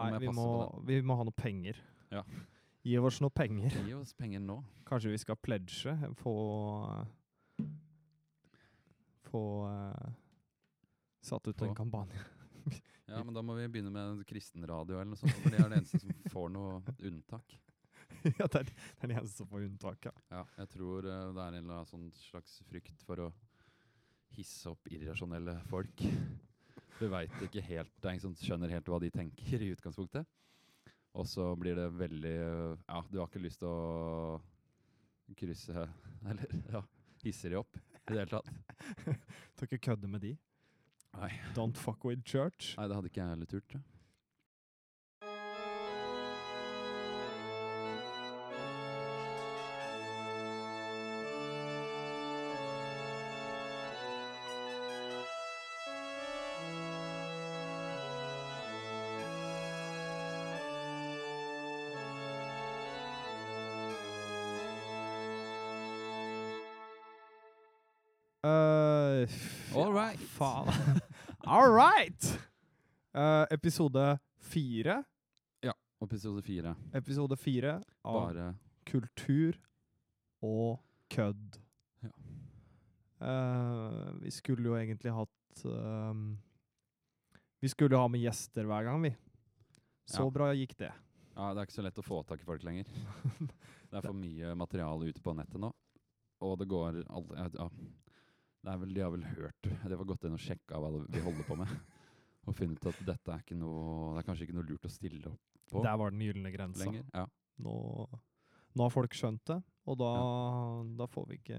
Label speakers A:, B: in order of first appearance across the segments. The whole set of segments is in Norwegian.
A: Nei,
B: jeg
A: vi må,
B: passer
A: vi må ha noe penger.
B: Ja.
A: Gi oss noe penger.
B: Gi oss penger nå.
A: Kanskje vi skal pledge, eh, få Få eh, satt ut
B: Få.
A: en kampanje.
B: Ja, men da må vi begynne med kristenradio eller noe sånt, for det er det eneste som får noe unntak.
A: ja, det er det er den eneste som får unntak, ja.
B: Ja, jeg tror eh, det er en eller annen sånn slags frykt for å hisse opp irrasjonelle folk. Du veit ikke helt Det er ingen som skjønner helt hva de tenker i utgangspunktet. Og så blir det veldig eh, Ja, du har ikke lyst til å krysse Eller ja, hisser de opp i det hele tatt?
A: Skal ikke kødde med de.
B: Nei.
A: Don't fuck with church.
B: Nei, det hadde ikke jeg heller turt. tror jeg.
A: Uh, f-
B: All right.
A: Faen. All right! Eh, episode fire.
B: Episode fire.
A: Episode fire av
B: Bare
A: kultur og kødd.
B: Ja.
A: Eh, vi skulle jo egentlig hatt ehm, Vi skulle jo ha med gjester hver gang, vi. Så
B: Ja.
A: bra gikk det.
B: Ja, det er ikke så lett å få tak i folk lenger. Det er for mye materiale ute på nettet nå. Og det går aldri Ja. Det er vel, de har vel hørt De har gått inn og sjekka hva det- vi holder på med. Og funnet ut at dette er ikke noe Det er kanskje ikke noe lurt å stille opp På.
A: Der var den gylne grensa.
B: lenger. Ja.
A: Nå, nå har folk skjønt det, og da, da får vi ikke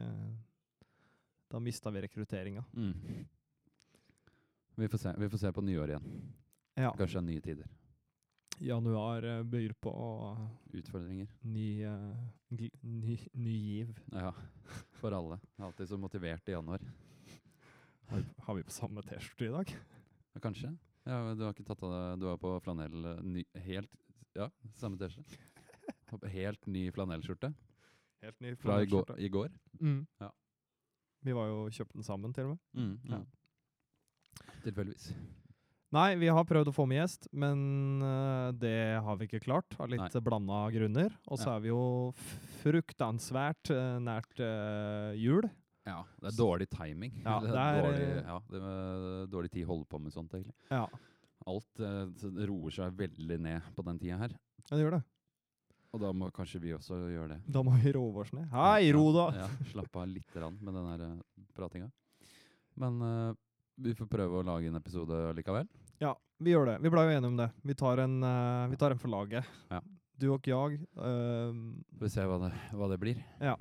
A: Da mista vi rekrutteringa.
B: Mm. Vi, får se. vi får se på nyåret igjen.
A: Ja.
B: Kanskje det er nye tider.
A: Januar eh, byr på
B: Utfordringer.
A: ny, eh, gl- ny, ny giv.
B: Ja. For alle. Jeg er alltid så motivert i januar.
A: Har vi, har vi på samme T-skjorte i dag?
B: Ja, Kanskje. Ja, men du har ikke tatt av deg Du er på flanell eh, ny, Helt Ja, samme tesje. Helt ny flanellskjorte
A: Helt ny
B: fra i går.
A: flanellskjorte.
B: I går.
A: Mm.
B: Ja.
A: Vi var jo og kjøpte den sammen, til og med.
B: ja.
A: ja.
B: Mm, Tilfeldigvis.
A: Nei, vi har prøvd å få med gjest, men øh, det har vi ikke klart. Av litt blanda grunner. Og så
B: Ja.
A: er vi jo fruktansvært øh, nært øh, jul.
B: Ja, det er dårlig timing.
A: Ja,
B: Eller
A: det er,
B: dårlig,
A: eh,
B: ja, det er dårlig tid å holde på med sånt, egentlig.
A: Ja,
B: Alt eh, så det roer seg veldig ned på den tida her.
A: det gjør det.
B: Og da må kanskje vi også gjøre det.
A: Da må vi roe oss ned. Hei, ro da!
B: Ja, slapp av litt rann med den her eh, pratinga. Men eh, vi får prøve å lage en episode likevel.
A: Ja, vi gjør det. Vi ble jo enige om det. Vi tar en, øh, vi tar en for laget.
B: Ja.
A: Du og jeg. eh, øhm,
B: Får vi se hva det, hva det blir.
A: ja.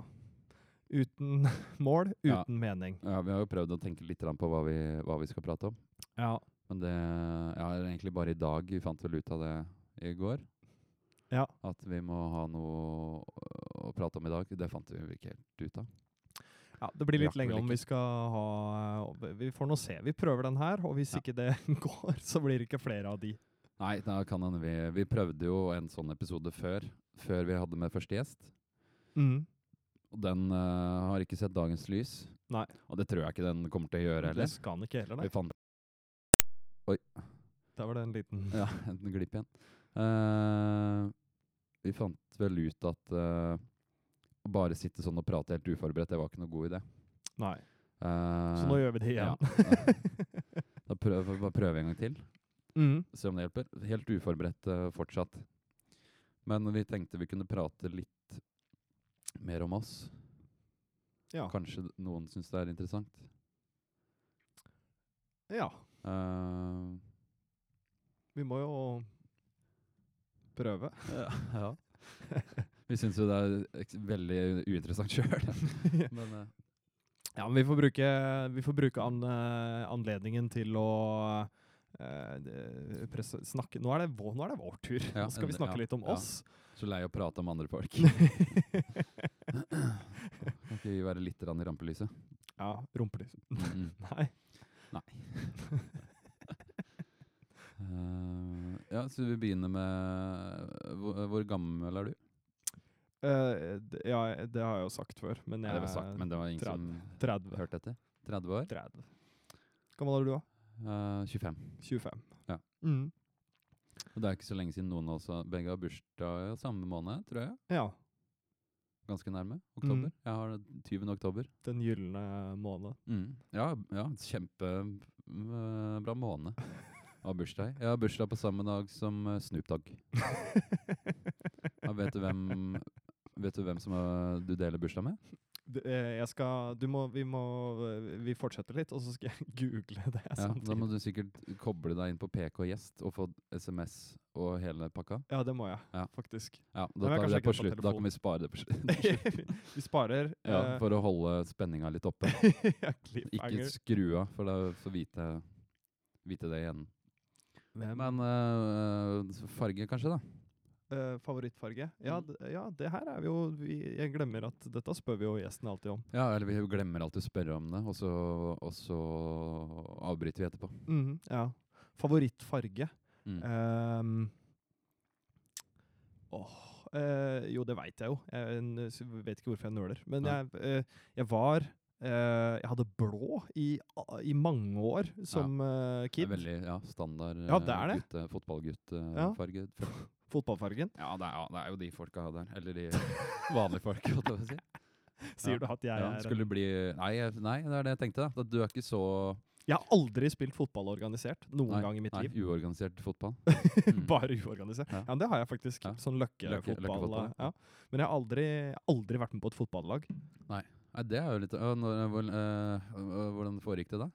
A: Uten mål, uten
B: Ja.
A: mening.
B: Ja, Vi har jo prøvd å tenke litt grann på hva vi, hva vi skal prate om.
A: Ja.
B: Men det ja, det er egentlig bare i dag vi fant vel ut av det i går.
A: Ja.
B: At vi må ha noe å- å prate om i dag. Det fant vi jo ikke helt ut av.
A: Ja, Det blir litt
B: Rakk vel
A: lenge om
B: ikke.
A: vi skal ha eh, Vi får nå se. Vi prøver den her, og hvis
B: Ja.
A: ikke det går, så blir det ikke flere av de.
B: Nei, da kan hende vi, vi prøvde jo en sånn episode før. Før vi hadde med første gjest. Mm. Og den eh, har ikke sett dagens lys.
A: Nei.
B: Og det tror jeg ikke den kommer til å gjøre
A: Det
B: heller.
A: skal han ikke heller, nei.
B: Vi fant
A: Der var det en liten
B: Ja, en glipp igjen. Eh, vi fant vel ut at eh, å bare sitte sånn og prate helt uforberedt, det var ikke noe god idé.
A: Nei.
B: Eh,
A: Så nå gjør vi det
B: ja.
A: igjen.
B: Da prøv, bare prøve en gang til,
A: Mm.
B: se om det hjelper. Helt uforberedt eh, fortsatt. Men vi tenkte vi kunne prate litt mer om oss.
A: Ja.
B: Kanskje noen syns det er interessant.
A: ja.
B: Eh,
A: Vi må jo prøve.
B: ja. vi syns jo det er eks- veldig uinteressant sjøl. Men eh,
A: Ja, men vi får bruke, vi får bruke an, eh, anledningen til å eh, de- presse, snakke Nå er, det vår, nå er det vår tur.
B: Ja,
A: nå skal vi
B: en-
A: snakke
B: ja,
A: litt om
B: ja.
A: oss.
B: Så lei å prate om andre folk. Kan ikke vi være litt rann i rampelyset?
A: Ja, rumpelys.
B: Mm.
A: Nei.
B: Eh, ja, så vi begynner med hvor, hvor gammel er du?
A: Eh, d- ja, det har jeg jo sagt før, men jeg
B: Eller hva sagt, men det var ingen som
A: 30.
B: hørte etter. 30 år?
A: 30. Hvor gammel er du, da?
B: Eh, 25.
A: 25.
B: Ja.
A: Mm.
B: Og det er ikke så lenge siden noen av oss har- begge har bursdag samme måned, tror jeg.
A: Ja.
B: Ganske nærme. Oktober.
A: Mm.
B: Jeg har 20. oktober.
A: Den gylne måned.
B: Mm. Ja, ja kjempebra måned av bursdag. Jeg har bursdag på samme dag som eh, Snoop Dogg. Ja, vet, du hvem, vet du hvem som eh, du deler bursdag med?
A: Du, eh, jeg skal Du må Vi må eh, Vi fortsetter litt, og så skal jeg google det
B: Ja, da må
A: samtidig.
B: du sikkert koble deg inn på PK Gjest og få SMS og hele pakka.
A: Ja, det må jeg,
B: Ja.
A: faktisk.
B: Ja,
A: Men
B: Da
A: jeg
B: tar vi
A: kanskje
B: det
A: ikke kan
B: på
A: ta
B: slutt. Da kan
A: telefonen.
B: vi spare det på slutt.
A: vi sparer.
B: Ja,
A: eh,
B: for å holde spenninga litt oppe.
A: ja,
B: Ikke
A: cliffhanger.
B: skru av, for da får vite, vite det igjen.
A: Hvem
B: Men eh, farge, kanskje, da?
A: eh, favorittfarge? Ja,
B: Mm.
A: d ja, det her er vi jo vi, Jeg glemmer at dette spør vi jo gjesten alltid om.
B: Ja, eller vi glemmer alltid å spørre om det, og så, og så avbryter vi etterpå.
A: Mhm, ja. Favorittfarge?
B: Mm.
A: Ehm, åh, eh, jo, det veit jeg jo. Jeg en- s- vet ikke hvorfor jeg nøler. Men
B: Nei.
A: jeg, eh, jeg var eh, Jeg hadde blå i, a- i mange år som eh,
B: Det
A: kid.
B: er veldig ja, standard
A: Ja, det er det.
B: gutte,
A: Ja.
B: fotballguttfarge. Ja.
A: Fotballfargen.
B: Ja, det er, ja, det er jo de folka der. Eller de vanlige folka, holdt jeg på å si.
A: Sier
B: Ja.
A: du at jeg
B: Ja,
A: er
B: skulle bli nei, jeg- nei, det er det jeg tenkte. da. At du er ikke så
A: Jeg har aldri spilt fotball organisert noen
B: nei,
A: gang i mitt
B: nei,
A: liv.
B: uorganisert fotball. Mm.
A: Bare uorganisert. Ja.
B: Ja.
A: men det har jeg faktisk.
B: Ja.
A: Sånn
B: Løkke-
A: løkkefotball.
B: løkkefotball, ja.
A: ja. Men jeg har aldri, aldri vært med på et fotballag.
B: Nei, det er jo litt øh, når, hvor, øh, øh, Hvordan foregikk det da?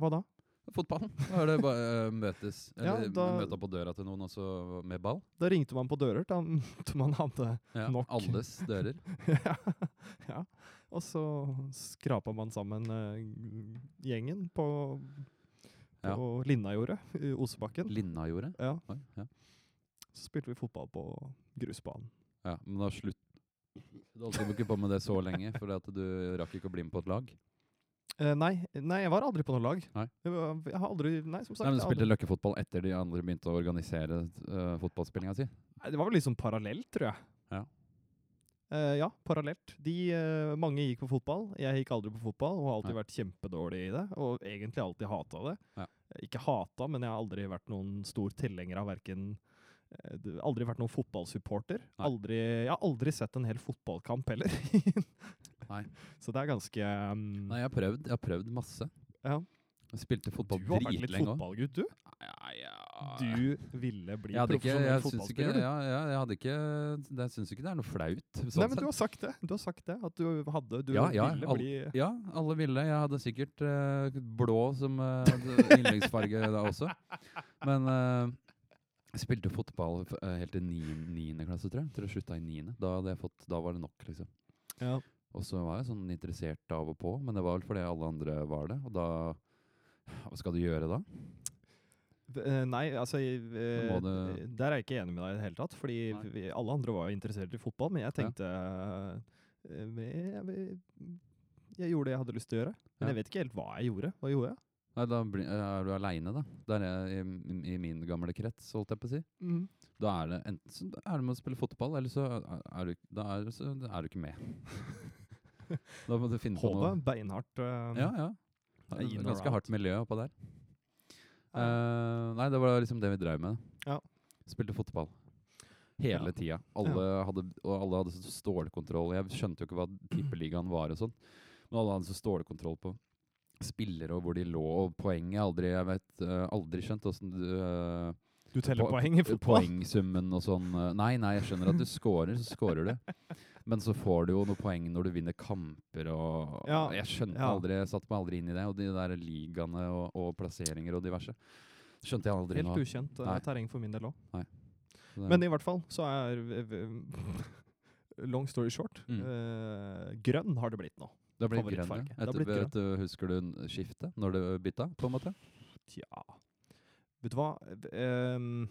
A: Hva da?
B: Fotballen. Da er det bare øh, møtes.
A: Ja,
B: Eller
A: da-
B: møte opp på døra til noen også med ball.
A: Da ringte man på dører da man hadde
B: Ja,
A: Nok.
B: Alles dører.
A: ja. ja. Og så skrapa man sammen eh, gjengen på, på
B: Ja.
A: Linnajordet, i Osebakken.
B: Linnajordet.
A: Ja.
B: Oi, Ja.
A: Så spilte vi fotball på grusbanen.
B: ja, men da slutt. Du holdt jo ikke på med det så lenge, for at du rakk ikke å bli med på et lag.
A: Eh, nei, nei, jeg var aldri på noe lag.
B: Nei.
A: Jeg, var, jeg har aldri Nei, som sagt.
B: Nei, men
A: jeg har
B: Du
A: aldri-
B: spilte løkkefotball etter de andre begynte å organisere øh, fotballspillinga si?
A: Nei, det var vel liksom parallelt, tror jeg.
B: Ja.
A: Eh, ja, parallelt. De, eh, mange gikk på fotball. Jeg gikk aldri på fotball og har alltid
B: Nei.
A: vært kjempedårlig i det. Og egentlig alltid hata det.
B: Ja.
A: Eh, Ikke hata, men jeg har aldri vært noen stor tilhenger av verken eh, d- Aldri vært noen fotballsupporter.
B: Nei.
A: Aldri, jeg har aldri sett en hel fotballkamp heller.
B: Nei.
A: Så det er ganske um,
B: Nei, jeg har prøvd. Jeg har prøvd masse.
A: Ja.
B: Jeg spilte fotball
A: Du har vært litt
B: dritlenge òg.
A: fotballgutt, du.
B: Jeg
A: Du ville bli
B: hadde ikke,
A: profesjonell
B: jeg syns ikke,
A: fotballspiller, du.
B: ja, ja, jeg hadde ikke det, Jeg syns ikke det er noe flaut. Sånn
A: Nei, men
B: sett.
A: du har sagt det. Du har sagt det, At du hadde Du
B: Ja, ja,
A: ville
B: al-
A: bli
B: Ja, alle ville. Jeg hadde sikkert eh, blå som eh, d- innleggsfarge da også. Men eh, jeg spilte fotball f- eh, helt til niende, niende klasse, tror jeg. Tror jeg slutta i niende. Da, hadde jeg fått, da var det nok, liksom.
A: ja.
B: Og så var jeg sånn interessert av og på, men det var vel fordi alle andre var det. Og da Hva skal du gjøre da?
A: V- eh, Nei, altså i- eh,
B: må det-
A: Der er jeg ikke enig med deg i det hele tatt. Fordi
B: Nei.
A: vi, alle andre var jo interessert i fotball, men jeg
B: Ja.
A: tenkte eh, eh, jeg, jeg, jeg gjorde det jeg hadde lyst til å gjøre. Men
B: Ja.
A: jeg vet ikke helt hva jeg gjorde. Hva gjorde jeg?
B: Nei, da bli, er du aleine, da. Der er jeg, i, i min gamle krets, holdt jeg på å si. Da er det enten så er det med å spille fotball, eller så er er du, da er, du- så er du ikke med. da må du finne på
A: Hodet
B: noe.
A: beinhardt. eh,
B: Ja, ja.
A: Ja,
B: Det
A: in
B: er
A: or
B: Ganske
A: out.
B: hardt miljø oppå der.
A: ja.
B: Eh, nei, det var liksom det vi drev med.
A: Ja.
B: Spilte fotball. Hele
A: Ja.
B: tida. Alle hadde, og alle hadde så stålkontroll. Jeg skjønte jo ikke hva tippeligaen var og sånn, men alle hadde så stålkontroll på spillere og hvor de lå og poenget. Aldri, jeg vet, eh, aldri skjønt åssen du eh,
A: Du teller
B: po-
A: poeng i fotball?
B: poengsummen og sånn. eh, Nei, nei, jeg skjønner at du scorer, så scorer du. Men så får du jo noen poeng når du vinner kamper og
A: Ja,
B: Jeg skjønte
A: ja.
B: aldri, jeg satte meg aldri inn i det. Og de der ligaene og, og plasseringer og diverse. Skjønte jeg aldri
A: Helt
B: Eh, noe av.
A: ukjent eh,
B: Nei.
A: terreng for min del òg.
B: Så det-
A: Men i hvert fall så er v- v- Long story short.
B: Mm.
A: eh, grønn har det blitt nå.
B: det blir grønn,
A: favorittfarge.
B: ja.
A: Det har
B: Etter,
A: blitt grønn.
B: vet du, husker du n- skiftet når du bytta, på en måte?
A: Tja Vet du hva? V- ehm,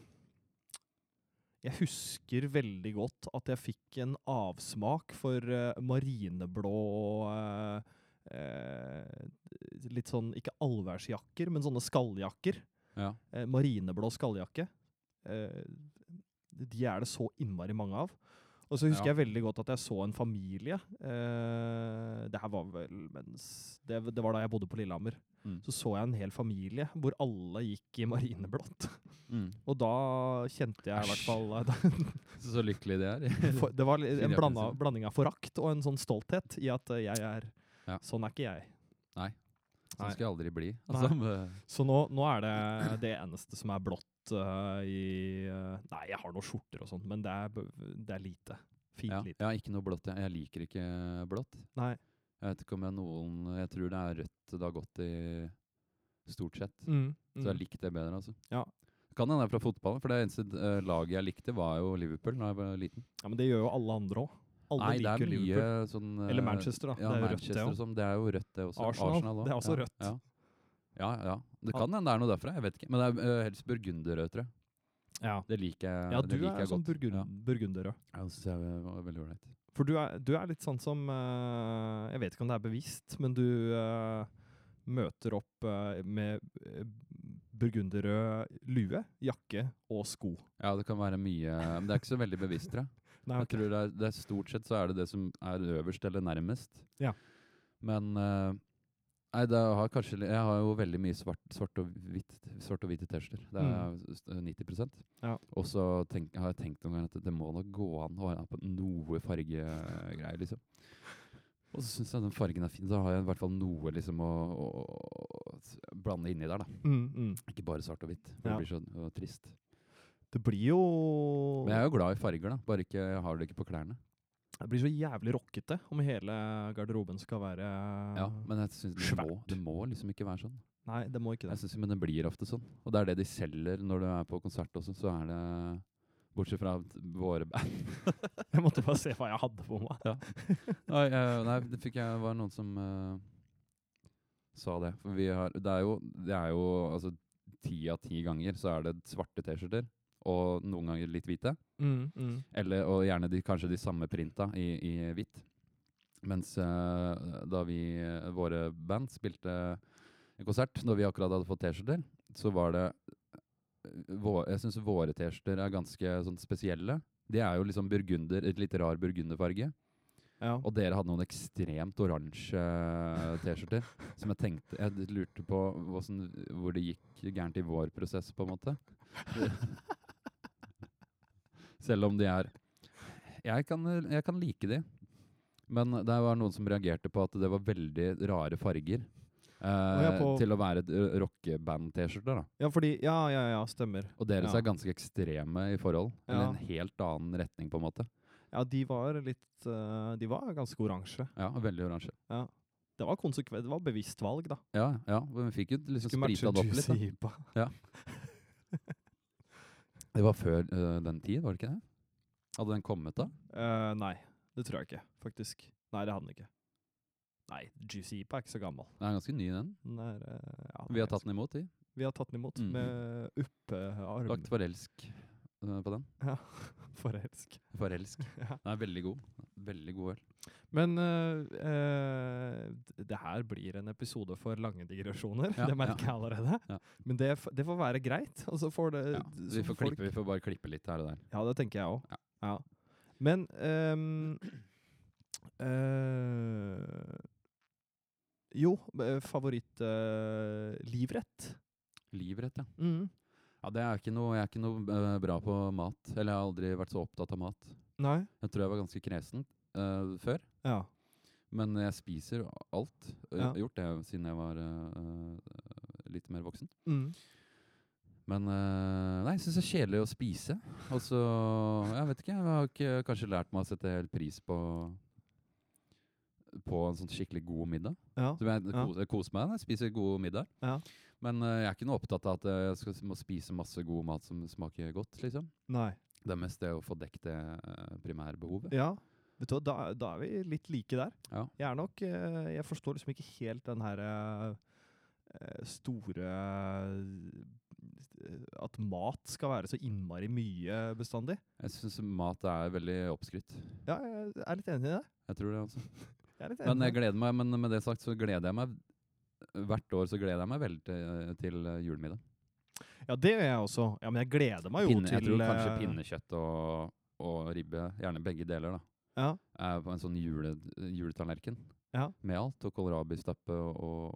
A: jeg husker veldig godt at jeg fikk en avsmak for eh, marineblå og litt sånn, ikke allværsjakker, men sånne skalljakker.
B: Ja.
A: Eh, marineblå skalljakke. Eh, de er det så innmari mange av. Og så husker
B: Ja.
A: jeg veldig godt at jeg så en familie. Eh, det her var vel mens det, det var da jeg bodde på Lillehammer.
B: Mm.
A: Så så jeg en hel familie hvor alle gikk i marineblått.
B: Mm.
A: Og da kjente jeg i hvert
B: Æsj.
A: fall eh,
B: Så, så lykkelig de er.
A: for, Det var li-
B: Siden
A: en
B: jeg
A: blanda,
B: plutselig-
A: blanding av forakt og en sånn stolthet i at eh, jeg er
B: Ja.
A: Sånn er ikke jeg.
B: Sånn skal jeg aldri bli.
A: Nei.
B: Altså, men-
A: Så nå, nå er det det eneste som er blått eh, i eh, Nei, jeg har noen skjorter og sånt, men det er, b- det er lite. Fint
B: ja.
A: lite.
B: ja, ikke noe blått. Jeg, jeg liker ikke eh, blått.
A: Nei.
B: Jeg vet ikke om jeg noen Jeg tror det er rødt det har gått i stort sett.
A: Mm,
B: Så jeg
A: mm.
B: likte det bedre, altså.
A: Ja.
B: Kan hende det er fra fotballen, for det eneste eh, laget jeg likte, var jo Liverpool da jeg var liten.
A: Ja, Men det gjør jo alle andre òg. Alle
B: Nei, det
A: liker
B: er mye
A: Liverpool.
B: sånn eh,
A: Eller Manchester, da.
B: Ja,
A: det er rødt,
B: Manchester
A: det
B: og
A: òg.
B: sånn, det er jo rødt, det også.
A: Arsenal,
B: også.
A: det er også
B: ja,
A: rødt.
B: Ja. ja, ja. Det kan hende det er noe derfra. Jeg vet ikke. Men det er eh, helst burgunderrød, tror jeg.
A: Ja.
B: Det liker jeg,
A: ja,
B: sånn. det
A: du
B: liker
A: er
B: jeg
A: sånn
B: godt.
A: burgund,
B: Ja.
A: burgunderrød.
B: Ja, det synes jeg var veldig ålreit.
A: For du er, du er litt sånn som eh, Jeg vet ikke om det er bevisst, men du eh, møter opp eh, med eh, burgunderrød lue, jakke og sko.
B: Ja, det kan være mye Men det er ikke så veldig bevisst, tror jeg.
A: Nei,
B: Jeg tror det er, det er Stort sett så er det det som er øverst eller nærmest.
A: Ja.
B: Men eh, Nei, det har kanskje, li- jeg har jo veldig mye svart, svart og hvitt svart og hvite T-skjorter. Det er s- 90
A: Mm. Ja.
B: Og så tenk, har jeg tenkt noen ganger at det må da gå an å ha på noe fargegreier, liksom. Og så syns jeg den fargen er fin. Da har jeg i hvert fall noe liksom å, å, å s- blande inni der, da.
A: Mm, mm.
B: Ikke bare svart og hvitt. for
A: Ja.
B: Det blir så øh, trist.
A: Det blir jo
B: Men jeg er jo glad i farger, da. Bare ikke, jeg har det ikke på klærne.
A: Det blir så jævlig rockete om hele garderoben skal være
B: Ja, men jeg synes det, må,
A: Svært.
B: det må liksom ikke være sånn.
A: Nei, det må ikke
B: Jeg
A: det.
B: synes, jo- men det blir ofte sånn. Og det er det de selger når du er på konsert også. Så er det Bortsett fra t- våre band.
A: Jeg måtte bare se hva jeg hadde på meg.
B: Nei, eh, nei, det fikk jeg var noen som eh, sa det. For vi har Det er jo, det er jo altså ti av ti ganger så er det svarte T-skjorter. Og noen ganger litt hvite.
A: Mm, mm.
B: Eller, og gjerne de, kanskje de samme printa i, i hvitt. Mens eh, da vi, eh, våre band spilte en konsert, når vi akkurat hadde fått T-skjorter, så var det eh, vå- Jeg syns våre T-skjorter er ganske sånn spesielle. De er jo liksom burgunder, et litt rar burgunderfarge.
A: Ja.
B: Og dere hadde noen ekstremt oransje T-skjorter som jeg tenkte Jeg lurte på hvordan, hvor det gikk gærent i vår prosess, på en måte. Selv om de er Jeg kan, jeg kan like de. Men det var noen som reagerte på at det var veldig rare farger. Eh,
A: ja, på-
B: til å være et eh, rockeband-T-skjorte. da.
A: ja, fordi Ja, ja, ja, stemmer.
B: Og deres
A: Ja.
B: er ganske ekstreme i forhold.
A: Ja.
B: Eller en helt annen retning, på en måte.
A: Ja, de var litt eh, De var ganske oransje.
B: Ja, Veldig oransje.
A: Det var konsekvent, det var bevisst valg, da.
B: Ja, ja, men vi fikk jo liksom
A: Skulle matche
B: sprita det opp litt. da.
A: Juicy Hipa.
B: Det var før eh, den tid, var det ikke det? Hadde den kommet da?
A: Eh, nei, det tror jeg ikke, faktisk. Nei, det hadde den ikke. Nei, Juicy Hipa er ikke så gammel.
B: Den er ganske ny, den.
A: Den er, eh, ja, den
B: Vi
A: er
B: har tatt
A: ganske-
B: den imot, vi.
A: vi har tatt den imot
B: Mm.
A: med uppearm.
B: Lagt forelsk eh, på den.
A: Ja, forelsk.
B: Forelsk.
A: Ja.
B: Den er veldig god. Veldig god øl.
A: Men eh, eh, d- det her blir en episode for lange digresjoner.
B: Ja,
A: det merker jeg allerede.
B: Ja.
A: Men det, f- det får være greit. Og så får det
B: Ja,
A: Eh, d-
B: vi,
A: så
B: får
A: folk-
B: klippe, vi får bare klippe litt her og der.
A: Ja, det tenker jeg òg.
B: Ja.
A: Ja. Men ehm, eh, Jo, eh, favoritt-livrett.
B: Livrett, ja.
A: mm.
B: ja det er ikke noe, jeg er ikke noe eh, bra på mat. Eller jeg har aldri vært så opptatt av mat.
A: Nei?
B: Jeg tror jeg var ganske kresen eh, før.
A: Ja.
B: Men jeg spiser alt. Og jeg
A: Ja.
B: har gjort det siden jeg var eh, eh, litt mer voksen.
A: Mm.
B: Men eh, nei, jeg syns det er kjedelig å spise. Og så Jeg vet ikke. Jeg har ikke kanskje lært meg å sette helt pris på På en sånn skikkelig god middag.
A: ja.
B: Så jeg
A: Ja.
B: ko- jeg koser meg når jeg spiser god middag.
A: Ja.
B: Men eh, jeg er ikke noe opptatt av at eh, jeg skal, s- må spise masse god mat som smaker godt. liksom.
A: Nei.
B: Det er mest det å få dekket det eh, primærbehovet.
A: Ja. Vet du hva, da, da er vi litt like der.
B: Ja.
A: Jeg er nok eh, Jeg forstår liksom ikke helt den her eh, store eh, At mat skal være så innmari mye bestandig.
B: Jeg syns mat er veldig oppskrytt.
A: Ja, jeg er litt enig i det.
B: Jeg tror det, altså.
A: Jeg er litt
B: Men eh,
A: enig i
B: jeg
A: det.
B: gleder meg, men med det sagt så gleder jeg meg Hvert år så gleder jeg meg veldig til, til eh, julemiddag.
A: Ja, det gjør jeg også. Ja, Men jeg gleder meg jo
B: Pinne-
A: til
B: Jeg tror kanskje
A: eh,
B: pinnekjøtt og, og ribbe, gjerne begge deler, da,
A: Ja.
B: er på en sånn jule, juletallerken
A: Ja.
B: med alt. Og kålrabistappe og, og,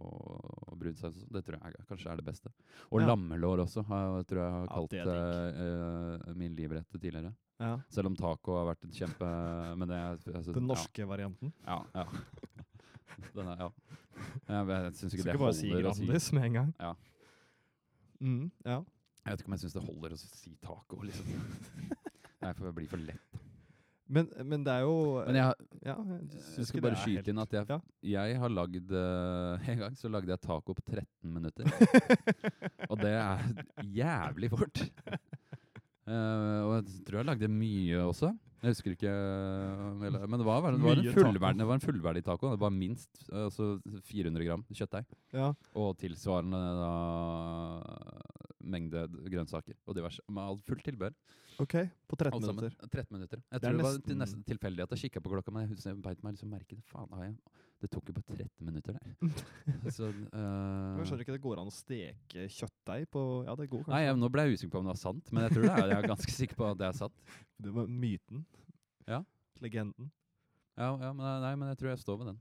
B: og brunsaus. og sånn. Det tror jeg er- kanskje er det beste. Og
A: Ja.
B: lammelår også, har jeg, tror jeg har
A: Ja,
B: kalt
A: det er
B: eh, eh, min livrett tidligere.
A: ja.
B: Selv om taco har vært et kjempe Men det er jeg synes-
A: Den norske varianten.
B: Ja. ja, ja. Den er, ja. Jeg, jeg syns
A: Skal
B: ikke
A: ikke
B: det
A: bare si
B: holder å si
A: Grandis med en gang.
B: Ja.
A: Mm, ja.
B: Jeg vet ikke om jeg syns det holder å si taco, liksom. Nei, for det blir for lett.
A: Men, men det er jo
B: Men jeg,
A: ja, jeg
B: jeg
A: syns
B: skal
A: ikke det
B: bare
A: er
B: skyte inn at jeg,
A: Ja.
B: jeg har lagd eh, En gang så lagde jeg taco på 13 minutter.
A: helt-
B: Og det er jævlig fort. Eh, og jeg tror jeg lagde mye også. Jeg husker ikke eh, eller, Men det var, det var, en,
A: Mye taco.
B: fullverdig, det var en fullverdig taco. Det var minst eh, altså 400 gram kjøttdeig.
A: ja.
B: Og tilsvarende da, mengde d- grønnsaker og diverse. Med alt fullt tilbør.
A: OK, på 13
B: Alt sammen.
A: minutter.
B: 13 minutter. Jeg
A: Det er
B: tror det, var til
A: nesten-
B: nesten tilfeldig at jeg kikka på klokka, men jeg hus- jeg beit meg liksom merke det. Faen, har jeg Det tok jo bare 13 minutter, det. Så, eh,
A: Jeg skjønner ikke det går an å steke kjøttdeig på Ja, det går kanskje.
B: Nei, jeg, nå ble jeg usikker på om det var sant, men jeg tror det er, jeg er ganske sikker på at det er sant.
A: Det var myten.
B: Ja.
A: Legenden.
B: Ja, ja men, eh, nei, men jeg tror jeg står ved den.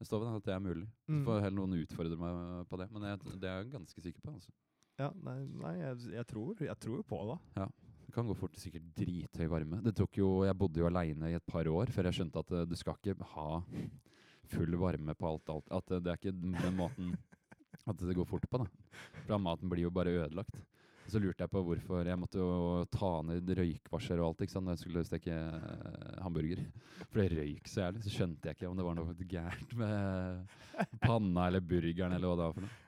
B: Jeg står ved den at det er mulig. Så
A: Mm.
B: får heller noen utfordre meg på det. Men jeg, det er jeg ganske sikker på. altså.
A: Ja, nei, nei jeg, jeg, tror, jeg tror på det.
B: Det kan gå fort. Sikkert drithøy varme. Det tok jo, Jeg bodde jo aleine i et par år før jeg skjønte at eh, du skal ikke ha full varme på alt. alt. At eh, det er ikke den den måten at det går fort på. da. For maten blir jo bare ødelagt. Og Så lurte jeg på hvorfor jeg måtte jo ta ned røykvarsler og alt ikke sant, når jeg skulle steke eh, hamburger. For det røyk så jævlig. Så skjønte jeg ikke om det var noe gærent med panna eller burgeren eller hva det var for noe.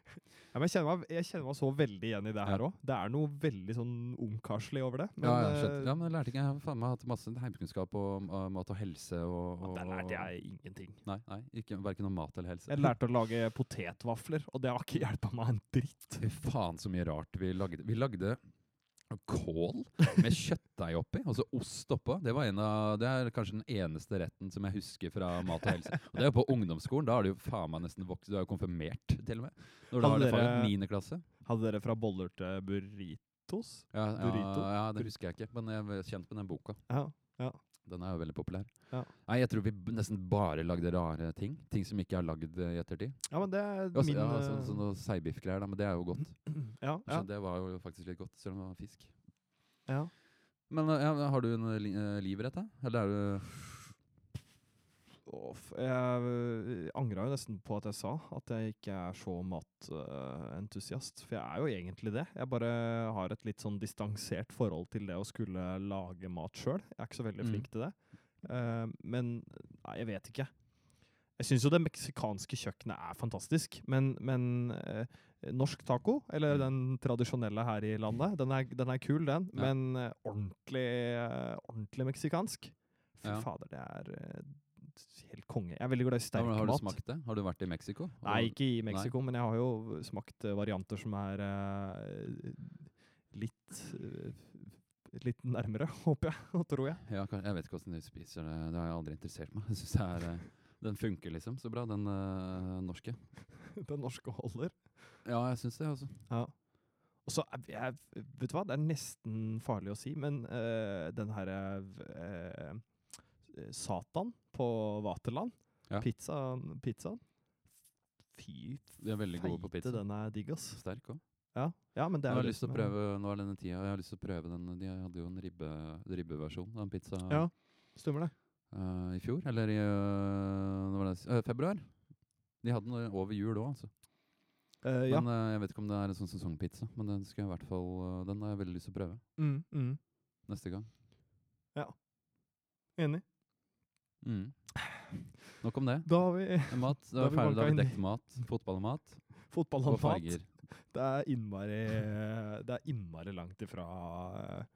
A: Ja, men jeg, kjenner meg, jeg kjenner meg så veldig igjen i det her òg. Det er noe veldig sånn ungkarslig over det.
B: Men, ja, jeg
A: eh,
B: skjønte. ja, men jeg lærte ikke. Jeg har faen meg hatt masse heimkunnskap om om mat og helse og, og
A: Der lærte jeg ingenting.
B: Nei, nei ikke, verken om mat eller helse.
A: Jeg lærte å lage potetvafler, og det har ikke hjulpet meg en dritt.
B: Fy faen så mye rart vi lagde. Vi lagde kål med kjøttdeig oppi, og så ost oppå. Det, var en av, det er kanskje den eneste retten som jeg husker fra mat og helse. Og det er jo på ungdomsskolen. Da har du jo faen meg nesten vokst. Du er jo konfirmert, til og med. Når du
A: Hadde
B: har det fra
A: dere-
B: 9. klasse.
A: Hadde dere fra boller til burritos?
B: Ja, ja,
A: Burrito?
B: ja, det husker jeg ikke, men jeg er kjent med den boka.
A: Ja.
B: Den er jo veldig populær.
A: Ja.
B: Nei, jeg tror vi b- nesten bare lagde rare ting. Ting som ikke jeg har lagd eh, i ettertid.
A: ja, men det er
B: Altså,
A: min
B: ja,
A: eh,
B: sånn, sånn noe seigbiffgreier, da, men det er jo godt.
A: ja, ja,
B: Så Det var jo faktisk litt godt, selv om det var fisk.
A: ja.
B: Men eh, ja, har du en eh, li eh, livrett, da? Eller er du
A: Åh, f- Jeg angra eh, jo nesten på at jeg sa at jeg ikke er så matentusiast. For jeg er jo egentlig det. Jeg bare har et litt sånn distansert forhold til det å skulle lage mat sjøl. Jeg er ikke så veldig
B: Mm.
A: flink til det. Eh, men nei, jeg vet ikke. Jeg syns jo det meksikanske kjøkkenet er fantastisk, men, men eh, norsk taco, eller
B: Mm.
A: den tradisjonelle her i landet, den er, den er kul, den.
B: Ja.
A: Men eh, ordentlig, eh, ordentlig meksikansk Fy
B: Ja.
A: fader, det er eh, helt konge. Jeg er veldig glad i sterk
B: har, har du
A: mat.
B: smakt det? Har du vært i Mexico? Har
A: Nei,
B: du-
A: ikke i Mexico, men jeg har jo smakt eh, varianter som er eh, litt eh, Litt nærmere, håper jeg og tror jeg.
B: Ja, kan- jeg vet ikke hvordan du spiser det. Det har jeg aldri interessert meg. Jeg synes det er eh, Den funker liksom så bra, den eh, norske.
A: Den norske holder.
B: Ja, jeg syns det, altså.
A: Ja. Og så er jeg Vet du hva, det er nesten farlig å si, men eh, den herre Satan på Vaterland,
B: Ja.
A: pizzaen, pizzaen Fy
B: De er veldig gode på
A: feite,
B: pizza.
A: den er digg, ass.
B: Sterk òg.
A: Ja, ja men det
B: Jeg
A: er jo
B: har
A: det
B: lyst til
A: som er-
B: å prøve Nå er denne tida, jeg har lyst til å prøve den De hadde jo en ribbe, ribbeversjon av en pizza
A: Ja. Stemmer det.
B: eh, i fjor. Eller i eh, når var det, eh, februar. De hadde den over jul òg, altså.
A: Eh, ja.
B: Men eh, jeg vet ikke om det er en sånn sesongpizza. Men den skal jeg i hvert fall eh, Den har jeg veldig lyst til å prøve
A: Mm, mm.
B: neste gang.
A: Enig.
B: Mm. Nok om det.
A: Da har vi
B: Mat.
A: Da har
B: Da er
A: vi
B: vi ferdig. Da har
A: banka
B: vi
A: inn
B: dekket mat. Fotball og mat.
A: fotball
B: Og
A: og mat.
B: farger.
A: Det er innmari Det er innmari langt ifra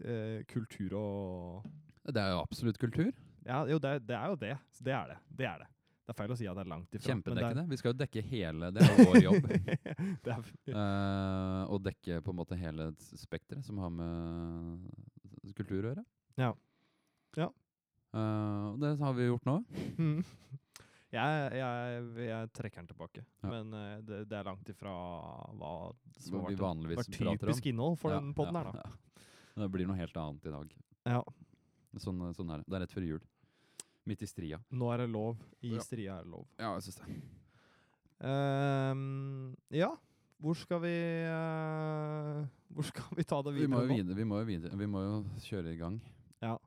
A: eh, kultur og
B: Det er jo absolutt kultur.
A: Ja, jo, det, er- det er jo det. Det er det. Det er det. Det er feil å si at det er langt ifra. men det er-
B: Kjempedekkende. Vi skal jo dekke hele Det er vår jobb.
A: det er,
B: Eh, Å dekke på en måte hele s- spekteret som har med kultur å gjøre.
A: Ja. Ja.
B: Eh, og det har vi gjort nå.
A: mm. jeg, jeg, jeg trekker den tilbake.
B: Ja.
A: Men eh, det, det er langt ifra hva som
B: Som
A: har
B: vi
A: vært,
B: vanligvis
A: vært
B: prater om.
A: typisk innhold for
B: Ja,
A: den poden
B: ja,
A: her, da.
B: ja. Det blir noe helt annet i dag.
A: Ja,
B: Sånn, sånn er det. Det er rett før jul. Midt i stria.
A: nå er det lov. I
B: Ja.
A: stria er det lov.
B: Ja, jeg syns det.
A: Ehm, ja, hvor skal vi eh, Hvor skal vi ta det
B: Vi må
A: videre? nå?
B: jo videre. Vi må jo, videre. Vi må jo kjøre i gang.
A: Ja.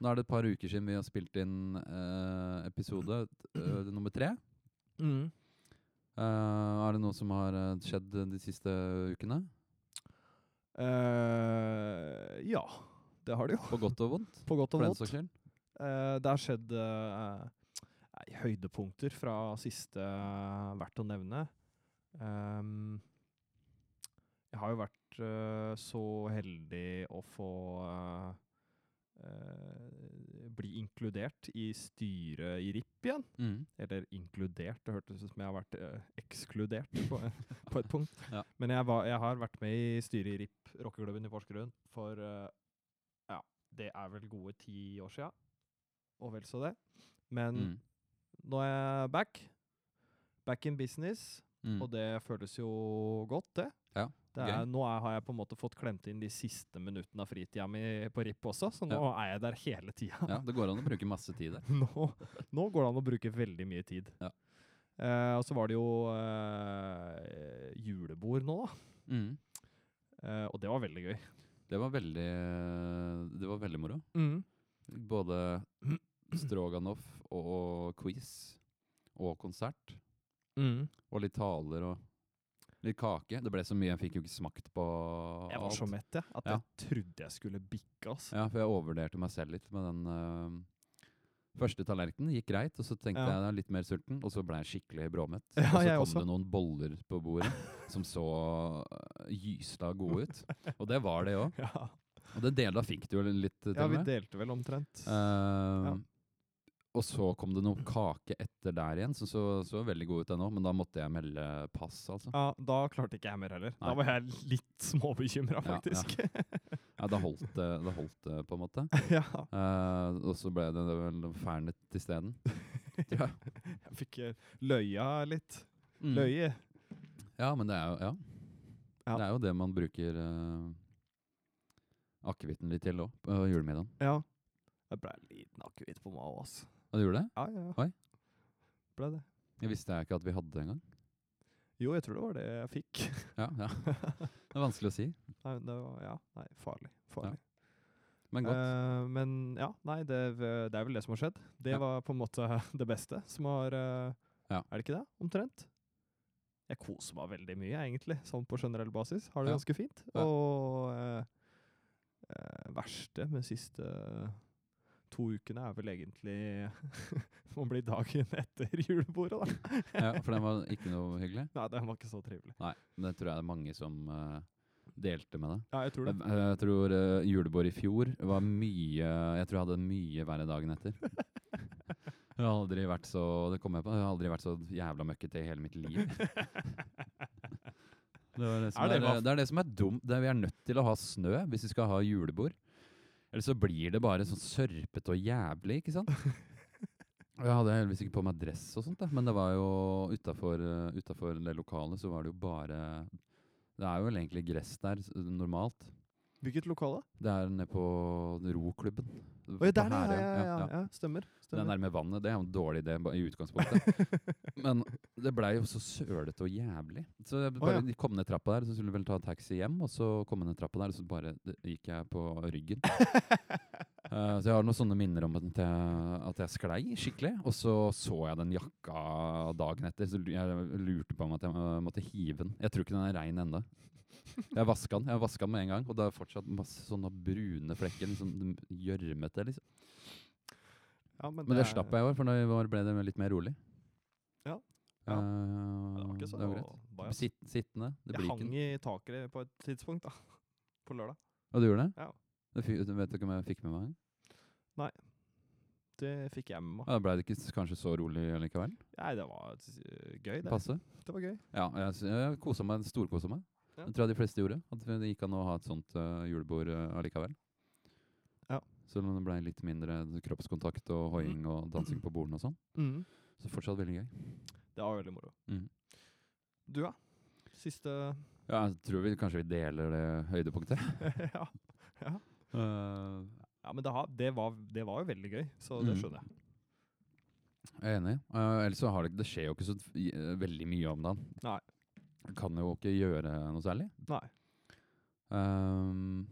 B: Da er det et par uker siden vi har spilt inn eh, episode eh, nummer tre.
A: Mm.
B: Eh, er det noe som har eh, skjedd de siste ukene?
A: Eh, ja, det har det jo.
B: På godt og vondt?
A: På godt og
B: For den
A: vondt.
B: saks skyld?
A: Eh, det har skjedd eh, nei, høydepunkter fra siste eh, verdt å nevne. Ehm, jeg har jo vært eh, så heldig å få eh, eh, bli inkludert i styret i RIP igjen.
B: Mm.
A: Eller inkludert, det hørtes ut som jeg har vært eh, ekskludert på, på et punkt.
B: Ja.
A: Men jeg, var, jeg har vært med i styret i RIP, rockeklubben i Porsgrunn, for eh, ja, det er vel gode ti år sia, og vel så det. Men
B: Mm.
A: nå er jeg back. Back in business,
B: Mm.
A: og det føles jo godt, det.
B: Ja,
A: Det er,
B: gøy.
A: nå er, har jeg på en måte fått klemt inn de siste minuttene av fritida mi på RIP også, så nå er jeg der hele tida.
B: Ja, det går an å bruke masse tid der.
A: nå, nå går det an å bruke veldig mye tid.
B: Ja.
A: Eh, og så var det jo eh, julebord nå, da.
B: Mm.
A: Eh, og det var veldig gøy.
B: Det var veldig Det var veldig moro. Både stroganoff og quiz og konsert og litt taler og litt kake. Det ble så mye, jeg fikk jo ikke smakt på
A: Jeg var så
B: alt.
A: mett jeg, at
B: Ja.
A: jeg trodde jeg skulle bikke. ass.
B: Ja, for jeg overvurderte meg selv litt med den eh, første tallerkenen. Gikk greit, og så tenkte
A: Ja.
B: jeg jeg er litt mer sulten, og så ble jeg skikkelig bråmett.
A: Ja,
B: og så
A: jeg
B: kom
A: også.
B: det noen boller på bordet som så eh, gysla gode ut. Og det var det òg.
A: Ja.
B: Og den delen da fikk du jo litt, eh, til
A: ja,
B: og
A: vi
B: med.
A: delte vel omtrent.
B: Eh,
A: Ja.
B: Og så kom det noe kake etter der igjen, som så, så, veldig god ut ennå, men da måtte jeg melde pass, altså.
A: Ja, da klarte ikke jeg mer heller. Da
B: Nei.
A: var jeg litt småbekymra,
B: Ja, ja.
A: faktisk.
B: Ja, da holdt det, da holdt det på en måte.
A: Ja,
B: Eh, og så ble det vel fernet isteden. Ja.
A: Jeg fikk eh, løya litt.
B: Mm.
A: Løye.
B: Ja, men det er jo ja.
A: Ja.
B: Det er jo det man bruker uh, akevitten litt til òg, på julemiddagen.
A: Ja. Det ble en liten akevitt på meg òg, ass.
B: Og du gjorde det?
A: Ja, ja. ja.
B: Oi.
A: Ble det.
B: Jeg visste jeg ikke at vi hadde det engang.
A: Jo, jeg tror det var det jeg fikk.
B: Ja, ja. Det er vanskelig å si,
A: Nei, det var, ja, nei, farlig. farlig.
B: men godt.
A: Eh, men ja, nei, det, v- det er vel det som har skjedd. Det
B: Ja.
A: var på en måte det beste som har eh,
B: Ja.
A: Er det ikke det? Omtrent. Jeg koser meg veldig mye, jeg, egentlig, sånn på generell basis. Har det
B: Ja.
A: ganske fint.
B: Ja.
A: Og eh, eh, verste med siste to ukene er vel egentlig må bli dagen etter julebordet, da.
B: Ja, for den var ikke noe hyggelig?
A: Nei, den var ikke så trivelig.
B: Nei, men det tror jeg det er mange som eh, delte med det.
A: Ja, jeg tror det.
B: Jeg, jeg tror uh, julebord i fjor var mye Jeg tror jeg hadde det mye verre dagen etter. Jeg har aldri vært så Det kom jeg på. Jeg har aldri vært så jævla møkkete i hele mitt liv. Det, var det,
A: Er
B: som er,
A: det hva-
B: eh, det er det som er dumt. Det er, vi er nødt til å ha snø hvis vi skal ha julebord. Eller så blir det bare sånn sørpete og jævlig, ikke sant? Og Jeg hadde heldigvis ikke på meg dress og sånt, da. men det var jo utafor det lokalet så var det jo bare Det er jo vel egentlig gress der s- normalt.
A: Hvilket lokale?
B: Det er nede på roklubben.
A: Oi,
B: På
A: der, ja,
B: Herøya,
A: ja, ja, ja, ja. Stemmer.
B: Det er
A: stemmer.
B: nærme vannet, det er jo en dårlig idé ba- i utgangspunktet. Men det blei jo så sølete og jævlig. Så jeg bare
A: ja.
B: de kom ned trappa der, så skulle jeg vel ta taxi hjem, og så kom jeg ned trappa der, og så bare d- gikk jeg på ryggen. Eh, så jeg har noen sånne minner om at jeg, at jeg sklei skikkelig. Og så så jeg den jakka dagen etter, så lu- jeg lurte på om at jeg eh, måtte hive den. Jeg tror ikke den er rein ennå. Jeg vaska den jeg vasket den med en gang, og det er fortsatt masse sånne brune flekker. liksom Gjørmete, liksom.
A: Ja, men
B: Men det, slapp jeg i år, for da i år ble det litt mer rolig.
A: Ja.
B: Eh,
A: Ja. Ja, Det var ikke så
B: var greit.
A: bajas.
B: Sitt, sittende. Det
A: Jeg
B: blir
A: hang
B: ikke
A: i taket på et tidspunkt, da. På lørdag.
B: Og du gjorde det?
A: Ja.
B: Det fi- du vet du ikke om jeg fikk med meg den?
A: Det fikk jeg med meg.
B: Ja, da ble det ikke s- kanskje så rolig likevel?
A: Nei, det var eh, gøy, det.
B: Passe?
A: Det var gøy.
B: Ja, jeg, s- jeg kosa meg, storkosa meg.
A: Ja.
B: Det tror jeg de fleste gjorde. At det gikk an å ha et sånt eh, julebord eh, allikevel.
A: Ja. Mm.
B: Selv om det ble litt mindre kroppskontakt og hoiing og dansing på bordene og sånn. Så fortsatt veldig gøy.
A: Det var veldig moro.
B: Mm.
A: Du, ja? Siste
B: Ja, jeg tror vi kanskje vi deler det høydepunktet. Eh,
A: ja. ja, men det, har, det, var, det var jo veldig gøy, så det
B: Mm.
A: skjønner jeg.
B: jeg er enig. Eh, ellers så har det, det skjer jo ikke så f- i- eh, veldig mye om dagen.
A: Nei.
B: Jeg Kan jo ikke gjøre noe særlig.
A: Nei.
B: Ehm,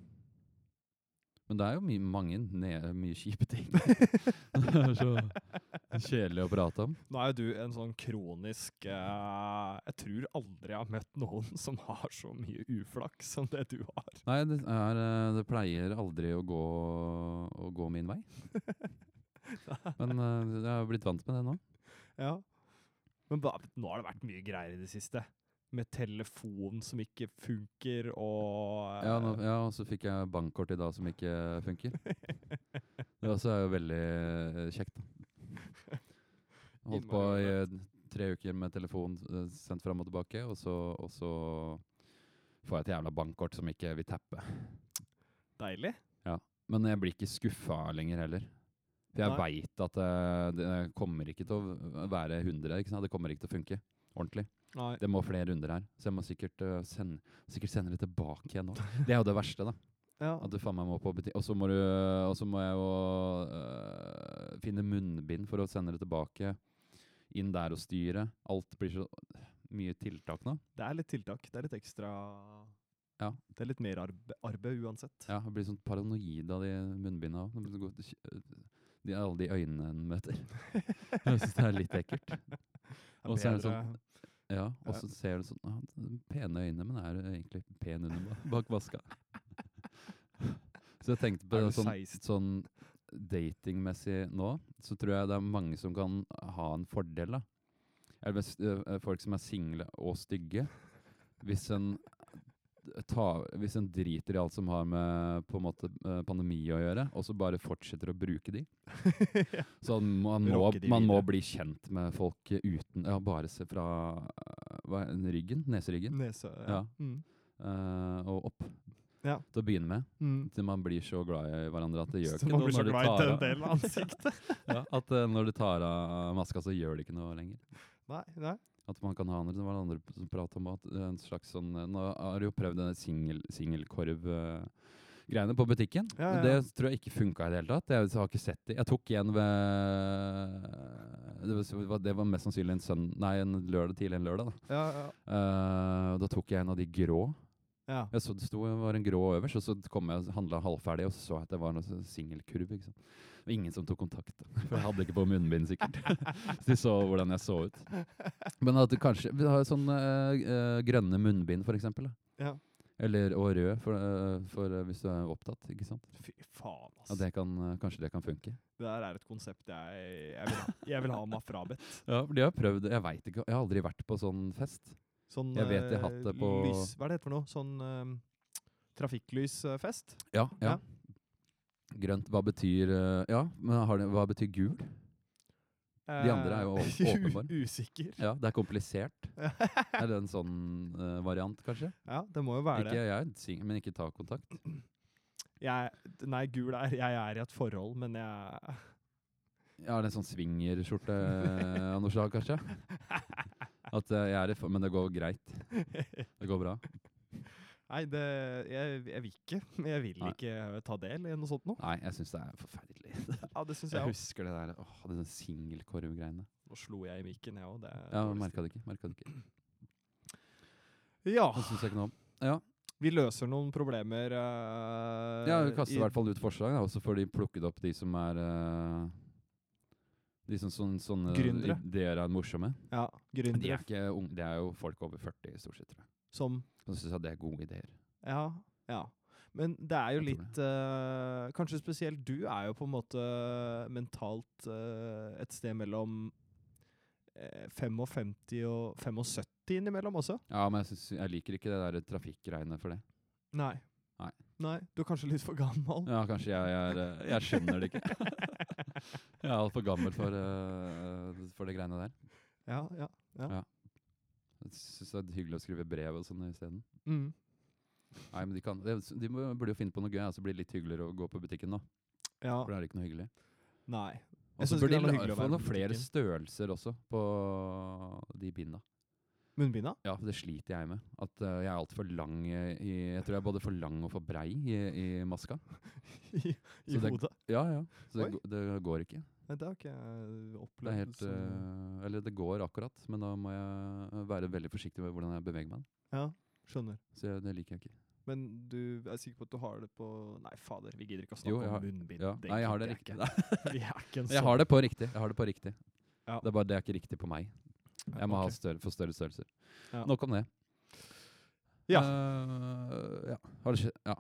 B: men det er jo mye, mange ne- mye kjipe ting. det er så kjedelig å prate om.
A: Nå er jo du en sånn kronisk eh, Jeg tror aldri jeg har møtt noen som har så mye uflaks som det du har.
B: Nei, det, er, eh, det pleier aldri å gå, å gå min vei. Men eh, jeg har blitt vant med det nå.
A: Ja. Men ba, nå har det vært mye greier i det siste. Med telefon som ikke funker, og eh,
B: Ja, nå, ja og så fikk jeg bankkort i dag som ikke funker. Det også er jo veldig eh, kjekt. da. Holdt på i eh, tre uker med telefon eh, sendt fram og tilbake, og så, og så får jeg et jævla bankkort som ikke vil tappe.
A: Deilig.
B: Men jeg blir ikke skuffa lenger heller. For jeg
A: Nei.
B: veit at eh, det kommer ikke til å være 100. Ikke sant? Det kommer ikke til å funke ordentlig.
A: Nei.
B: Det må flere runder her, så jeg må sikkert, eh, sende, sikkert sende det tilbake igjen nå. Det er jo det verste, da.
A: Ja.
B: At du faen meg må på butikk. Og så må, du- og så må jeg jo øh, finne munnbind for å sende det tilbake. Inn der og styre. Alt blir så mye tiltak nå.
A: Det er litt tiltak. Det er litt ekstra
B: Ja.
A: Det er litt mer arbe arbeid uansett.
B: Ja, Jeg blir sånn paranoid av de munnbindene òg. De, går- øh, de, alle de øynene en møter. Jeg synes det er litt ekkelt.
A: Det er
B: Og så er det sånn-
A: bedre-
B: Ja, Og
A: Ja.
B: så ser du sånn ah, Pene øyne, men er du egentlig pen under ba- bak vaska? Så jeg tenkte på
A: Er
B: det
A: du
B: sånn,
A: 16?
B: sånn datingmessig nå, så tror jeg det er mange som kan ha en fordel, da. Eller hvis, øh, øh, folk som er single og stygge. Hvis en, ta, hvis en driter i alt som har med på en måte øh, pandemi å gjøre, og så bare fortsetter å bruke de. Så man må,
A: Rocke de
B: man må
A: videre.
B: bli kjent med folk uten Ja, bare se fra øh, hva, er det, ryggen, neseryggen,
A: Nese
B: Ja.
A: Mm.
B: øh, og opp.
A: Ja.
B: Til å begynne med.
A: Mm.
B: Til man blir så glad i hverandre at det gjør
A: Så
B: ikke
A: man
B: noe
A: blir så
B: når du
A: glad i
B: tar
A: den
B: av-
A: delen av ansiktet.
B: ja, at eh, når du tar av maska, så gjør det ikke noe lenger.
A: nei, nei.
B: At man kan ha andre, det var det andre p- som pratet om at det er en slags sånn eh, Nå har du jo prøvd denne singel- singelkorv-greiene på butikken.
A: Ja, ja,
B: Det
A: ja.
B: tror jeg ikke funka i det hele tatt. Jeg har ikke sett det. Jeg tok en ved det var, det var- det var mest sannsynlig en sønn... Nei, en lørdag tidlig en lørdag, da.
A: Ja, ja.
B: Eh, da tok jeg en av de grå.
A: ja.
B: Jeg så det sto, var en grå øverst, og så kom jeg og handla halvferdig, og så så jeg at det var noe sånn singelkurv. ikke sant? Og ingen som tok kontakt, da, for jeg hadde ikke på munnbind, sikkert. så de så hvordan jeg så ut. Men at du kanskje Vi har sånne eh, eh, grønne munnbind, for eksempel. Da.
A: Ja.
B: Eller, og rød, for, eh, for eh, hvis du er opptatt. ikke sant?
A: Fy faen, ass.
B: Ja, det kan, eh, kanskje det kan funke.
A: Det der er et konsept jeg, jeg, vil, ha, jeg vil ha meg frabedt.
B: Ja, for de har prøvd Jeg vet ikke, jeg har aldri vært på sånn fest.
A: Sånn,
B: Jeg vet jeg har hatt
A: eh,
B: det på-
A: lys, Hva er det for noe? Sånn eh, trafikklysfest?
B: Ja, ja.
A: Ja.
B: Grønt, hva betyr eh, Ja, men har det, hva betyr gul? De andre er jo å- åpenbare.
A: Eh, Usikker.
B: Ja, det er komplisert. Er det en sånn eh, variant, kanskje?
A: ja, det må jo være
B: Ikke jeg, sing- men ikke ta kontakt.
A: det. Jeg, nei, gul er Jeg er i et forhold, men jeg
B: Jeg har en sånn swingerskjorte eh, av noe slag, kanskje. At eh, jeg er i for, Men det går greit. Det går bra.
A: Nei, det, jeg, jeg vil ikke. Jeg vil
B: Nei.
A: ikke ta del i noe sånt noe.
B: Nei, jeg syns det er forferdelig.
A: Ja, det syns
B: Jeg
A: jeg òg.
B: husker det der åh, det der singelkorvgreiene.
A: Nå slo jeg i mikken, jeg òg. Det er
B: Ja,
A: dårlig
B: merka det ikke. merket det ikke.
A: stil. ja,
B: Det syns jeg ikke noe om. Ja,
A: vi løser noen problemer eh,
B: ja vi kaster i
A: i-
B: hvert fall ut forslag, da, og så får de plukket opp de som er eh, De som sånne, sånne
A: Gründere.
B: ideer er morsomme.
A: Ja,
B: Men de er
A: gründere
B: ikke unge, det er jo folk over 40 stort sett, tror jeg.
A: som
B: Så syns jeg det er gode ideer.
A: Ja. ja. Men det er jo
B: Jeg tror
A: litt eh, Kanskje spesielt du er jo på en måte mentalt eh, et sted mellom eh, 55 og 75 innimellom også.
B: Ja, men jeg, synes, jeg liker ikke det der trafikkgreiene for det.
A: Nei.
B: Nei.
A: Du er kanskje litt for gammel.
B: Ja, kanskje jeg, jeg, er, eh, jeg skjønner det ikke. jeg er altfor gammel for, eh, for det greiene der.
A: Ja, ja.
B: Jeg syns det er hyggelig å skrive brev og sånn isteden.
A: Mm.
B: Nei, men de, kan, de, de må- burde jo finne på noe gøy, så altså, blir det litt hyggeligere å gå på butikken nå.
A: ja.
B: For det er ikke noe hyggelig.
A: Nei.
B: Og så
A: synes ikke
B: bør de
A: det er noe hyggelig å
B: la- få
A: være
B: noen
A: på
B: flere
A: butikken.
B: størrelser også på de binda.
A: Munnbinda?
B: Ja, for det sliter jeg med. At eh, jeg er altfor lang eh, i Jeg tror jeg er både for lang og for brei i, i maska.
A: I, i
B: Så det-
A: hodet?
B: Ja, ja. Så det,
A: Oi.
B: gå- det går ikke.
A: Nei, det har ikke jeg
B: Det er
A: opplevd.
B: helt,
A: som-
B: eh, eller det går akkurat, men da må jeg være veldig forsiktig med hvordan jeg beveger meg.
A: ja, skjønner.
B: Så jeg, det liker jeg ikke.
A: Men du er sikker på at du har det på Nei, fader, vi gidder ikke å snakke
B: Jo, jeg har-
A: om munnbind.
B: Ja. Nei, jeg har det riktig.
A: gidder jeg ikke. Vi er ikke en sånn.
B: Jeg har det på riktig. Jeg har det på riktig.
A: Ja.
B: Det er bare det er ikke riktig på meg. Jeg må ha større, få større størrelser.
A: Ja.
B: Nok om det.
A: Ja.
B: Eh, ja. Har det skjedd? Ja.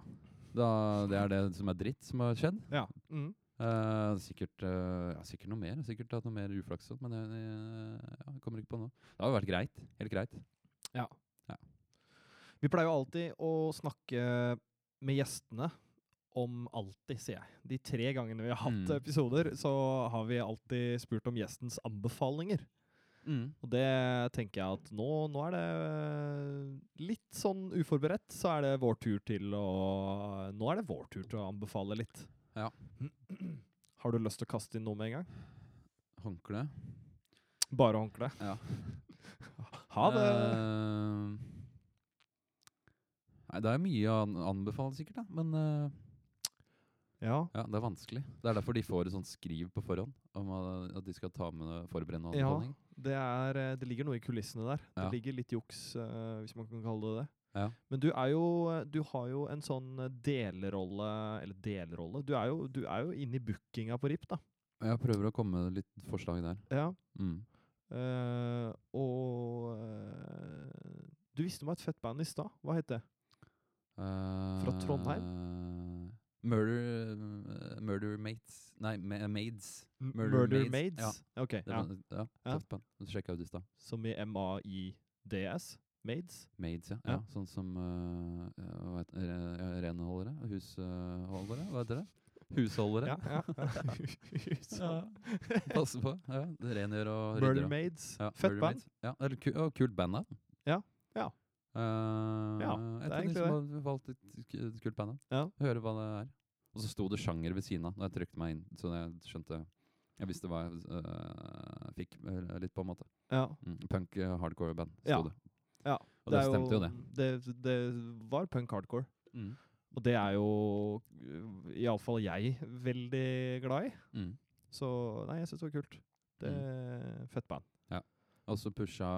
B: Da, det er det som er dritt som har skjedd.
A: Ja. Mm.
B: Eh, sikkert, eh, ja, sikkert noe mer. Jeg har Sikkert hatt noe mer uflaks også, men jeg, jeg, ja, jeg kommer ikke på noe. Det har jo vært greit. Helt greit.
A: Vi pleier jo alltid å snakke med gjestene om alltid, sier jeg. De tre gangene vi har hatt
B: Mm.
A: episoder, så har vi alltid spurt om gjestens anbefalinger. Og det tenker jeg at nå, nå er det litt sånn uforberedt, så er det vår tur til å Nå er det vår tur til å anbefale litt.
B: Ja.
A: Har du lyst til å kaste inn noe med en gang?
B: Håndkle.
A: Bare håndkle.
B: Ja.
A: Ha det!
B: Eh, nei, det er mye å an anbefale, sikkert, da. Men eh,
A: ja.
B: ja, det er vanskelig. Det er derfor de får et sånt skriv på forhånd om at- at de skal ta med forberedende
A: Ja.
B: anbefaling.
A: Det, er, eh, det ligger noe i kulissene der.
B: Ja.
A: Det ligger litt juks, eh, hvis man kan kalle det det.
B: Ja.
A: Men du er jo Du har jo en sånn eh, delrolle Eller delrolle Du er jo, du er jo inne i bookinga på RIP, da.
B: Jeg prøver å komme med litt forslag der.
A: Ja.
B: Mm.
A: Eh, og eh, Du visste om et fett band i stad. Hva het det?
B: Fra
A: Trondheim?
B: Eh, Murder eh, Murder Mates Nei, ma Maids.
A: M-
B: Murder Maids.
A: Ja. Ok,
B: Det
A: ja.
B: var- ja.
A: Ja.
B: tøft band. Det sjekket jeg ut i stad.
A: Som i M-A-I-D-S? Maids?
B: Maids, ja.
A: Ja.
B: ja. Sånn som eh, hva heter- re- ja, renholdere? Husholdere? Hva heter det? Husholdere?
A: Ja, ja.
B: Ja. Passe på. Ja. det Rengjør og rydder.
A: Murder
B: og-
A: Maids.
B: Ja,
A: fett
B: Murder
A: band.
B: Maids. Ja, eller ku og kult band, da.
A: Ja, ja.
B: Eh,
A: Ja,
B: et
A: det er
B: av de
A: egentlig
B: som har valgt et k- et kult band. da.
A: Ja.
B: Høre hva det er. Og så sto det sjanger ved siden av når jeg trykte meg inn, så jeg skjønte Jeg visste hva jeg eh, fikk eh, litt, på en måte.
A: Ja.
B: Mm. Punk eh, hardcore band, sto
A: Ja,
B: det.
A: ja.
B: Og det,
A: er mm.
B: stemte jo, det.
A: det. Det var punk hardcore.
B: Mm.
A: Og det er jo øh, iallfall jeg veldig glad i.
B: Mm.
A: Så nei, jeg syns det var kult. Det er Fett band.
B: Og så pusha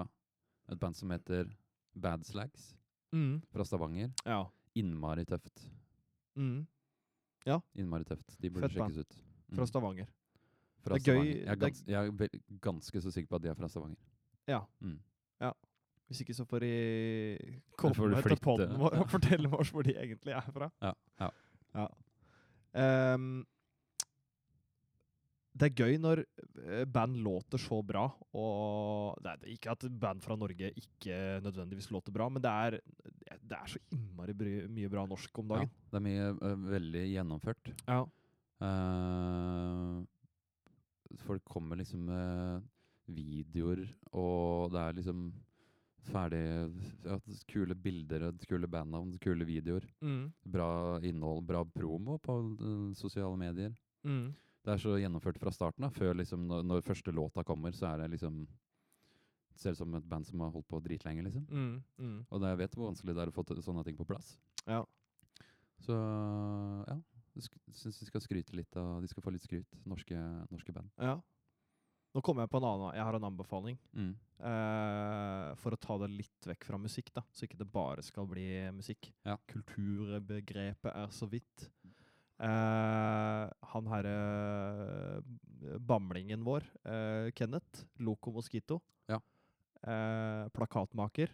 B: et band som heter Bad Slags fra Stavanger.
A: Ja.
B: Innmari tøft.
A: Mm.
B: Innmari tøft. De burde
A: Fett band.
B: sjekkes ut. Mm.
A: Fra Stavanger.
B: Fra
A: Det er gøy-
B: Stavanger. Jeg er,
A: det er-
B: gans jeg er vel- ganske så sikker på at de er fra Stavanger.
A: Ja.
B: Mm.
A: Hvis ikke så får de komme
B: får du
A: til
B: flytte.
A: podden vår og fortelle oss hvor de egentlig er fra.
B: Ja, ja.
A: Ja. Ehm, det er gøy når eh, band låter så bra, og det er ikke at band fra Norge ikke nødvendigvis låter bra, men det er, det er så innmari bry- mye bra norsk om
B: ja.
A: dagen.
B: Det er mye ø, veldig gjennomført.
A: Ja.
B: Eh, folk kommer liksom med videoer, og det er liksom ferdig ja, Kule bilder, og kule bandnavn, kule videoer.
A: Mm.
B: Bra innhold, bra promo på ø, sosiale medier.
A: Mm.
B: Det er så gjennomført fra starten av. Før liksom når, når første låta kommer, så er det liksom Ser ut som et band som har holdt på dritlenge, liksom.
A: Mm. Mm.
B: Og det, jeg vet hvor vanskelig det er å få til sånne ting på plass.
A: Ja.
B: Så ja, jeg syns de skal skryte litt av De skal få litt skryt, norske, norske band.
A: ja. Nå kommer jeg på en annen Jeg har en anbefaling.
B: Mm.
A: Eh, for å ta det litt vekk fra musikk, da, så ikke det bare skal bli musikk.
B: Ja. Mm.
A: Kulturbegrepet er så vidt. Eh, han herre bamlingen vår, eh, Kenneth, Loco Mosquito,
B: Ja.
A: eh, plakatmaker,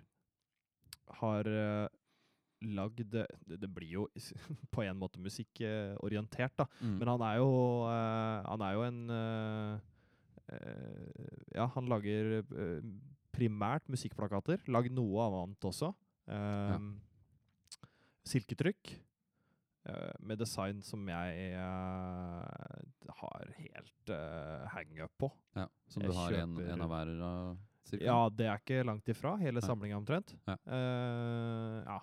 A: har eh, lagd det, det blir jo på en måte musikkorientert, da.
B: Mm.
A: Men han er jo, eh, han er jo en eh, eh, Ja, han lager eh, primært musikkplakater. Lagd noe annet også. Ehm, Silketrykk. eh, med design som jeg eh, har helt uh, hangup på.
B: ja, som
A: jeg
B: du har en,
A: kjøper-
B: en av hver av cirka?
A: Ja, det er ikke langt ifra. Hele
B: Nei.
A: samlinga omtrent.
B: Ja.
A: Eh, ja,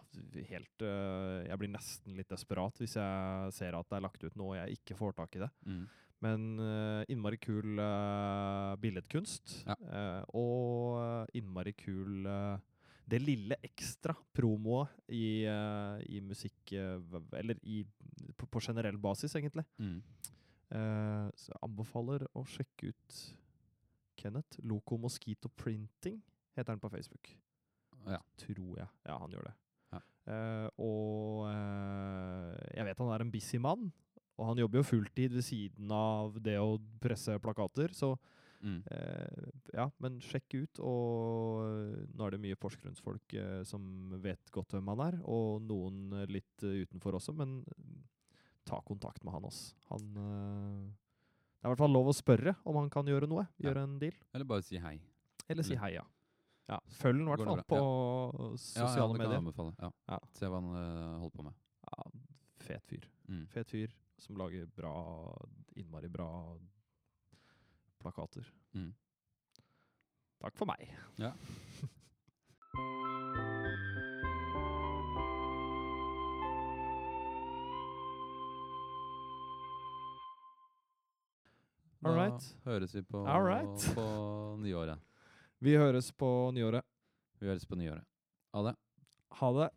A: helt eh, Jeg blir nesten litt desperat hvis jeg ser at det er lagt ut noe og jeg ikke får tak i det.
B: Mm.
A: Men eh, innmari kul eh, billedkunst.
B: Ja.
A: eh, og innmari kul eh, Det lille ekstra promoet i, eh, i musikk eh, v- Eller i, på, på generell basis, egentlig.
B: Mm.
A: Eh, så jeg anbefaler å sjekke ut Kenneth. Loco Mosquito Printing heter han på Facebook.
B: Ja.
A: Tror jeg. Ja, han gjør det.
B: Ja.
A: Eh, og eh, jeg vet han er en busy mann, og han jobber jo fulltid ved siden av det å presse plakater, så
B: Mm.
A: eh, ja, men sjekk ut. Og eh, nå er det mye porsgrunnsfolk eh, som vet godt hvem han er, og noen eh, litt eh, utenfor også, men eh, ta kontakt med han, ass. Han eh, Det er i hvert fall lov å spørre om han kan gjøre noe,
B: Ja.
A: gjøre en deal,
B: Eller bare si hei.
A: eller si
B: Eller-
A: hei, ja. Ja, Følg han i hvert
B: Går
A: fall
B: det
A: på
B: bra?
A: eh, sosiale
B: ja, ja, det kan jeg
A: medier.
B: anbefale. Ja.
A: Ja.
B: Se hva han eh, holder på med.
A: Ja, fet fyr.
B: Mm.
A: Fet fyr som lager bra, innmari bra plakater.
B: Mm.
A: Takk for meg.
B: Ja.
A: All
B: Da
A: right.
B: høres vi på,
A: All right.
B: på nyåret.
A: Vi høres på nyåret.
B: Vi høres på nyåret. Ha det.
A: Ha det.